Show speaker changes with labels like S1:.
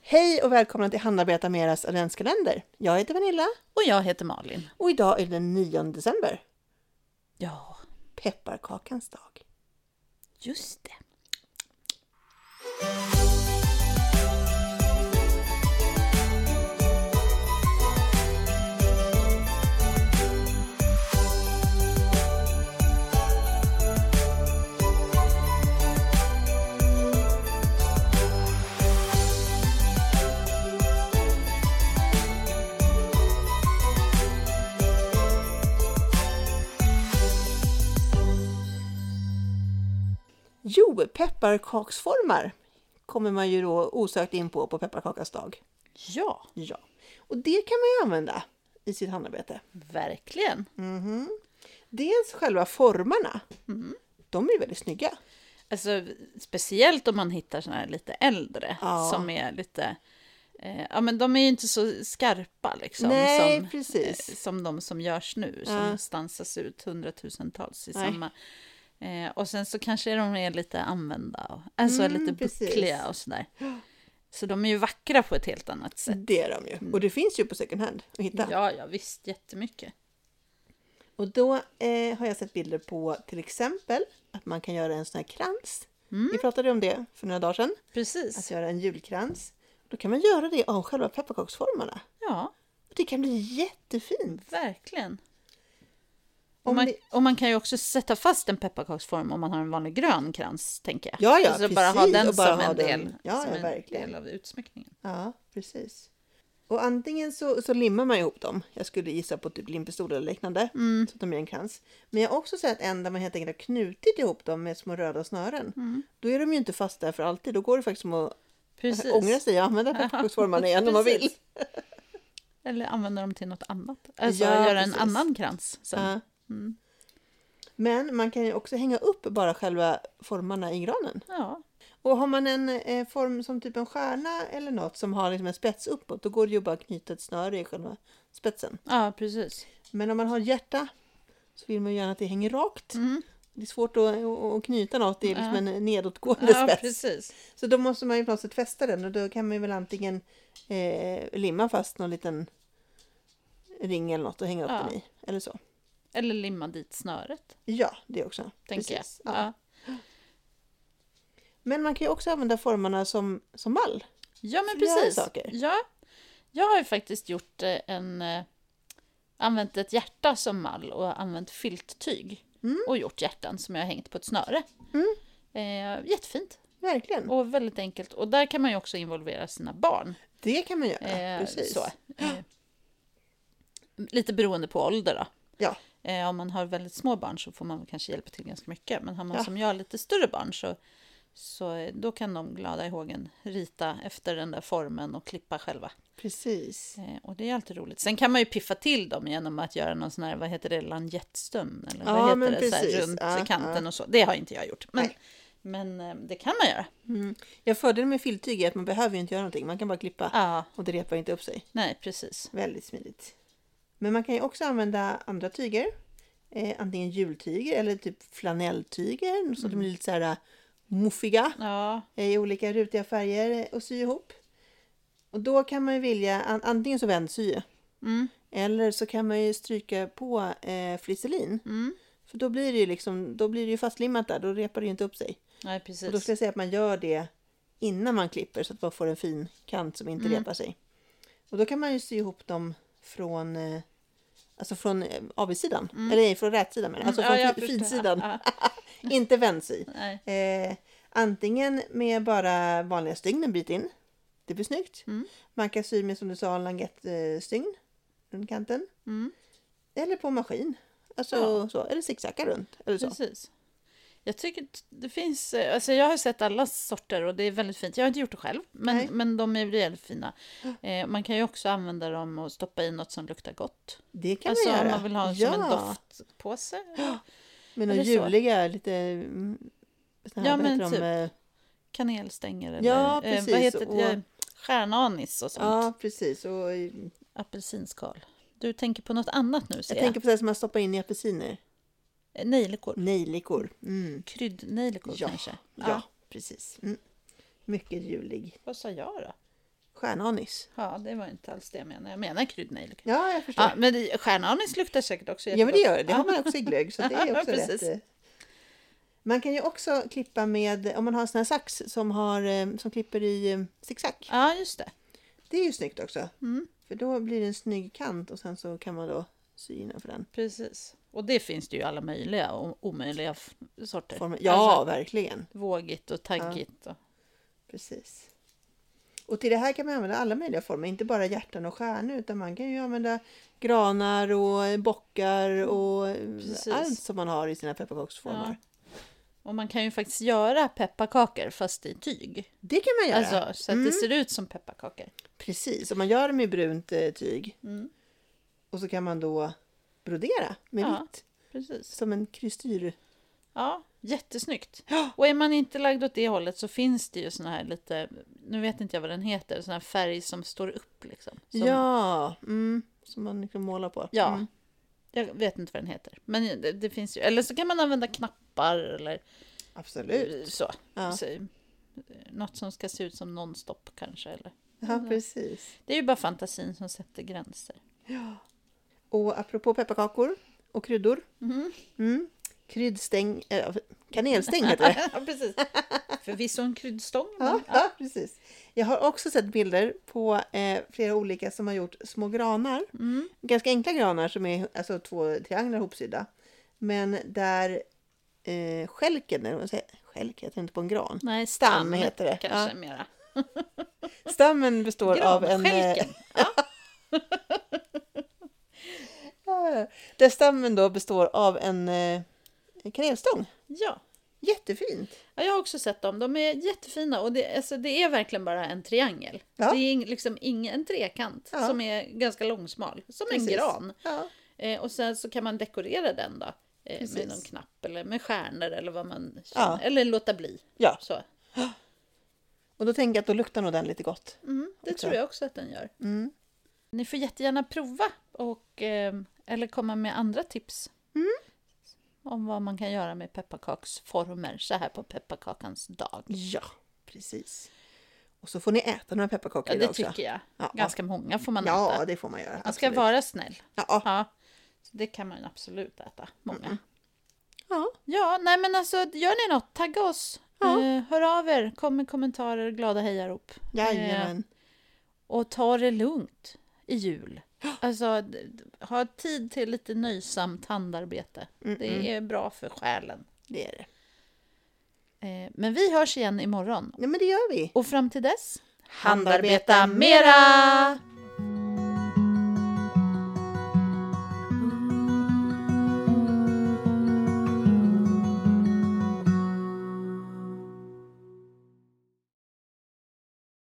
S1: Hej och välkomna till Hanna Beata Meras adventskalender. Jag heter Vanilla
S2: Och jag heter Malin.
S1: och idag är det den 9 december,
S2: Ja,
S1: pepparkakans dag.
S2: just det.
S1: Jo, pepparkaksformar kommer man ju då osökt in på på pepparkakans dag.
S2: Ja,
S1: Ja, och det kan man ju använda i sitt handarbete.
S2: verkligen.
S1: Dels själva formarna. De är ju väldigt snygga.
S2: Alltså, speciellt om man hittar såna här lite äldre
S1: Ja.
S2: som är lite... Eh, ja, men de är ju inte så skarpa liksom.
S1: Nej,
S2: som,
S1: precis.
S2: Eh, som de som görs nu, som
S1: Ja.
S2: stansas ut hundratusentals i
S1: Nej.
S2: samma... Eh, och sen så kanske de är lite använda, och, alltså
S1: Mm,
S2: lite
S1: precis.
S2: buckliga och sådär. Så de är ju vackra på ett helt annat sätt.
S1: Det är de ju. Och det finns ju på second hand att hitta.
S2: Ja, ja visst, jättemycket.
S1: Och då eh, har jag sett bilder på till exempel att man kan göra en sån här krans. Vi pratade om det för några dagar sedan.
S2: Precis.
S1: Att göra en julkrans. Då kan man göra det av själva pepparkaksformarna.
S2: ja.
S1: Och Det kan bli jättefint.
S2: Verkligen.
S1: Om
S2: Och man,
S1: det-
S2: och man kan ju också sätta fast en pepparkaksform om man har en vanlig grön krans, tänker jag.
S1: Ja, ja,
S2: alltså bara ha
S1: precis,
S2: den
S1: och bara
S2: som
S1: ha
S2: en
S1: den.
S2: del,
S1: Ja,
S2: som
S1: ja,
S2: en
S1: verkligen.
S2: del av utsmyckningen.
S1: Ja, precis. Och antingen så, så limmar man ihop dem. Jag skulle gissa på typ limpistol eller liknande.
S2: Mm.
S1: Så att de blir en krans. Men jag har också sett en där man helt enkelt har knutit ihop dem med små röda snören.
S2: Mm.
S1: Då är de ju inte fast där för alltid. Då går det faktiskt som att
S2: Precis.
S1: ångra sig och använda pepparkaksformarna igen om man vill.
S2: Precis. Eller använda dem till något annat. Alltså
S1: Ja,
S2: göra
S1: precis.
S2: en annan krans. Sen.
S1: Ja. Men man kan ju också hänga upp bara själva formarna i granen.
S2: Ja.
S1: Och har man en eh, form som typ en stjärna eller något som har liksom en spets uppåt, då går det ju bara att knyta ett snöre i själva spetsen.
S2: ja, precis.
S1: Men om man har hjärta så vill man ju gärna att det hänger rakt.
S2: Mm.
S1: Det är svårt att, att att knyta något, det är liksom en nedåtgående
S2: Ja,
S1: spets.
S2: precis.
S1: Så då måste man ju på något sätt fästa den och då kan man ju väl antingen eh, limma fast någon liten ring eller något och hänga upp
S2: Ja.
S1: den i. Eller så.
S2: Eller limma dit snöret,
S1: Ja, det också.
S2: tänker
S1: Precis.
S2: jag.
S1: Ja.
S2: Ja.
S1: Men man kan ju också använda formarna som, som mall.
S2: Ja, men
S1: För att göra
S2: precis.
S1: saker.
S2: Ja. Jag har ju faktiskt gjort eh, en... eh, Använt ett hjärta som mall och använt filttyg. Och gjort hjärtan som jag har hängt på ett snöre. Eh, jättefint
S1: Verkligen.
S2: och väldigt enkelt. Och där kan man ju också involvera sina barn.
S1: Det kan man göra.
S2: Eh,
S1: Precis.
S2: Så. Eh, lite beroende på ålder då.
S1: Ja,
S2: Eh, om man har väldigt små barn så får man kanske hjälpa till ganska mycket. Men har man
S1: Ja.
S2: som jag lite större barn så, så eh, då kan de glada i hågen rita efter den där formen och klippa själva.
S1: precis.
S2: Eh, Och det är alltid roligt. Sen kan man ju piffa till dem genom att göra någon sån här, vad heter det, lanjettstömn eller
S1: Ja,
S2: vad heter
S1: men
S2: det, så
S1: precis.
S2: här, runt
S1: Ja,
S2: kanten och så. Det har inte jag gjort. Men,
S1: Nej.
S2: men eh, det kan man göra.
S1: Mm. Jag fördelen med filttyg är att man behöver ju inte göra någonting. Man kan bara klippa
S2: Ja,
S1: och det repar inte upp sig.
S2: nej precis.
S1: Väldigt smidigt. Men man kan ju också använda andra tyger. Eh, antingen jultyger eller typ flanelltyger. Så att
S2: Mm.
S1: de blir lite så här äh, muffiga
S2: Ja,
S1: eh, i olika rutiga färger eh, och sy ihop. Och då kan man ju vilja an, antingen så vändsy
S2: mm,
S1: eller så kan man ju stryka på eh, flisselin.
S2: mm.
S1: För då blir det ju liksom, då blir det ju fastlimmat där, då repar det ju inte upp sig.
S2: nej
S1: Och då
S2: precis.
S1: ska jag säga att man gör det innan man klipper så att man får en fin kant som inte
S2: Mm.
S1: repar sig. Och då kan man ju sy ihop dem från eh, Alltså från eh, avigsidan, eller nej, från rätsidan menar jag. Alltså
S2: Mm.
S1: från
S2: Ja, jag
S1: fi-
S2: förstår.
S1: finsidan,
S2: Ja,
S1: inte vändsi.
S2: nej.
S1: Eh, antingen med bara vanliga stygn en bit in. Det blir snyggt.
S2: Mm.
S1: Man kan sy med som du sa langettstygn runt kanten.
S2: Mm,
S1: Eller på maskin. Alltså
S2: Ja.
S1: så, eller zigzacka runt. Eller så.
S2: precis. Jag tycker att det finns, eh, alltså jag har sett alla sorter och det är väldigt fint. Jag har inte gjort det själv, men,
S1: Nej.
S2: men de är rejält fina. Eh, man kan ju också använda dem och stoppa i något som luktar gott.
S1: Det kan
S2: alltså
S1: man göra.
S2: om man vill ha som en doftpåse.
S1: Men de
S2: Eller så.
S1: juliga, lite... mm, såna här,
S2: Ja,
S1: vad
S2: men
S1: heter de?
S2: typ.
S1: Eh,
S2: kanelstänger eller
S1: Ja,
S2: Eh, vad
S1: precis,
S2: heter det?
S1: och-
S2: Stjärnanis och sånt.
S1: Ja, precis. Och eh,
S2: Apelsinskal. Du tänker på något annat nu ser
S1: jag
S2: jag.
S1: tänker på det som man stoppar in i apelsiner.
S2: Eh, Nejlikor.
S1: Nejlikor. Mm.
S2: Kryddnejlikor
S1: Ja,
S2: kanske.
S1: Ja, precis. Mm. Mycket julig.
S2: Vad sa jag då?
S1: Stjärnanis.
S2: Ja, det var inte alls det jag menade. Jag menar kryddnejlika.
S1: Ja, jag förstår.
S2: Ja, men det- stjärnanis luktar säkert också
S1: Ja, men det
S2: jättegott.
S1: gör det. Det har man också i glögg. Så det är
S2: Ja,
S1: också
S2: precis.
S1: rätt. eh. Man kan ju också klippa med, om man har en sån här sax som, har, eh, som klipper i eh, zigzag.
S2: Ja, just det.
S1: Det är ju snyggt också.
S2: Mm.
S1: För då blir det en snygg kant och sen så kan man då sy innanför den.
S2: Precis. Och det finns det ju alla möjliga och omöjliga f- sorter.
S1: Formen. Ja,
S2: Alltså,
S1: verkligen.
S2: vågigt och taggigt. Och...
S1: Precis. Och till det här kan man använda alla möjliga former, inte bara hjärtan och stjärnor utan man kan ju använda granar och bockar och
S2: Mm. Precis.
S1: allt som man har i sina pepparkaksformer.
S2: och man kan ju faktiskt göra pepparkakor fast i tyg.
S1: Det Mm. kan man göra.
S2: Alltså, så att det ser ut som pepparkakor. Mm,
S1: Precis, och man gör dem i brunt eh, tyg. Och så kan man då brodera med
S2: Ja.
S1: vitt.
S2: Precis.
S1: Som en kristyr.
S2: Ja, jättesnyggt. Och är man inte lagd åt det hållet så finns det ju såna här lite, nu vet inte jag vad den heter, sån här färg som står upp liksom. Som,
S1: Ja, mm, som man liksom målar på.
S2: Ja.
S1: Mm.
S2: Jag vet inte vad den heter. Men det, det finns ju, eller så kan man använda knappar eller
S1: Absolut.
S2: så.
S1: Ja.
S2: så. eh, Något som ska se ut som nonstop kanske. Eller.
S1: Ja, precis.
S2: Det är ju bara fantasin som sätter gränser.
S1: Och apropå pepparkakor och kryddor. Mm. Kryddstäng, äh, kanelstäng heter det.
S2: ja, precis. Förvisso en kryddstång.
S1: Ja,
S2: men-
S1: ja, precis. Jag har också sett bilder på eh, flera olika som har gjort små granar. Ganska enkla granar som är alltså, två trianglar hopsydda. Men där eh, skälken, eller vad man säger, skälk heter inte på en gran.
S2: Nej,
S1: Stam heter det.
S2: Kanske mera.
S1: Stammen består av en... Eh,
S2: Granskälken.
S1: där stammen då består av en eh, kanelstång.
S2: Ja.
S1: Jättefint!
S2: ja, jag har också sett dem. De är jättefina och det, alltså, det är verkligen bara en triangel.
S1: Ja.
S2: Det är ing, liksom ing, en trekant
S1: Ja.
S2: som är ganska långsmal. Som
S1: Precis.
S2: en gran.
S1: Ja.
S2: Eh, och sen så kan man dekorera den då. Eh,
S1: Precis.
S2: med någon knapp eller med stjärnor eller vad man känner.
S1: Ja.
S2: Eller låta bli.
S1: ja,
S2: Så.
S1: och då tänker jag att då luktar nog den lite gott.
S2: Mm, det
S1: Också.
S2: tror jag också att den gör.
S1: Mm.
S2: Ni får jättegärna prova och, eh, eller komma med andra tips.
S1: Mm.
S2: Om vad man kan göra med pepparkaksformer så här på pepparkakans dag.
S1: Ja, precis. Och så får ni äta några pepparkakor
S2: Ja,
S1: idag
S2: det
S1: också.
S2: tycker jag.
S1: Ja.
S2: Ganska många får man
S1: Ja,
S2: äta.
S1: det får man göra.
S2: Man ska
S1: absolut.
S2: vara snäll.
S1: Ja,
S2: Ja, så det kan man absolut äta. Många.
S1: ja.
S2: Ja, nej men alltså gör ni något, tagga oss.
S1: Ja.
S2: Eh, hör av er, kom med kommentarer, glada hejarop.
S1: Jajamän.
S2: Och ta det lugnt i jul. Alltså, d- d- ha tid till lite nöjsamt handarbete. Det är bra för själen.
S1: Det är det.
S2: Eh, Men vi hörs igen imorgon.
S1: Ja, men det gör vi.
S2: Och fram till dess,
S1: Handarbeta mera!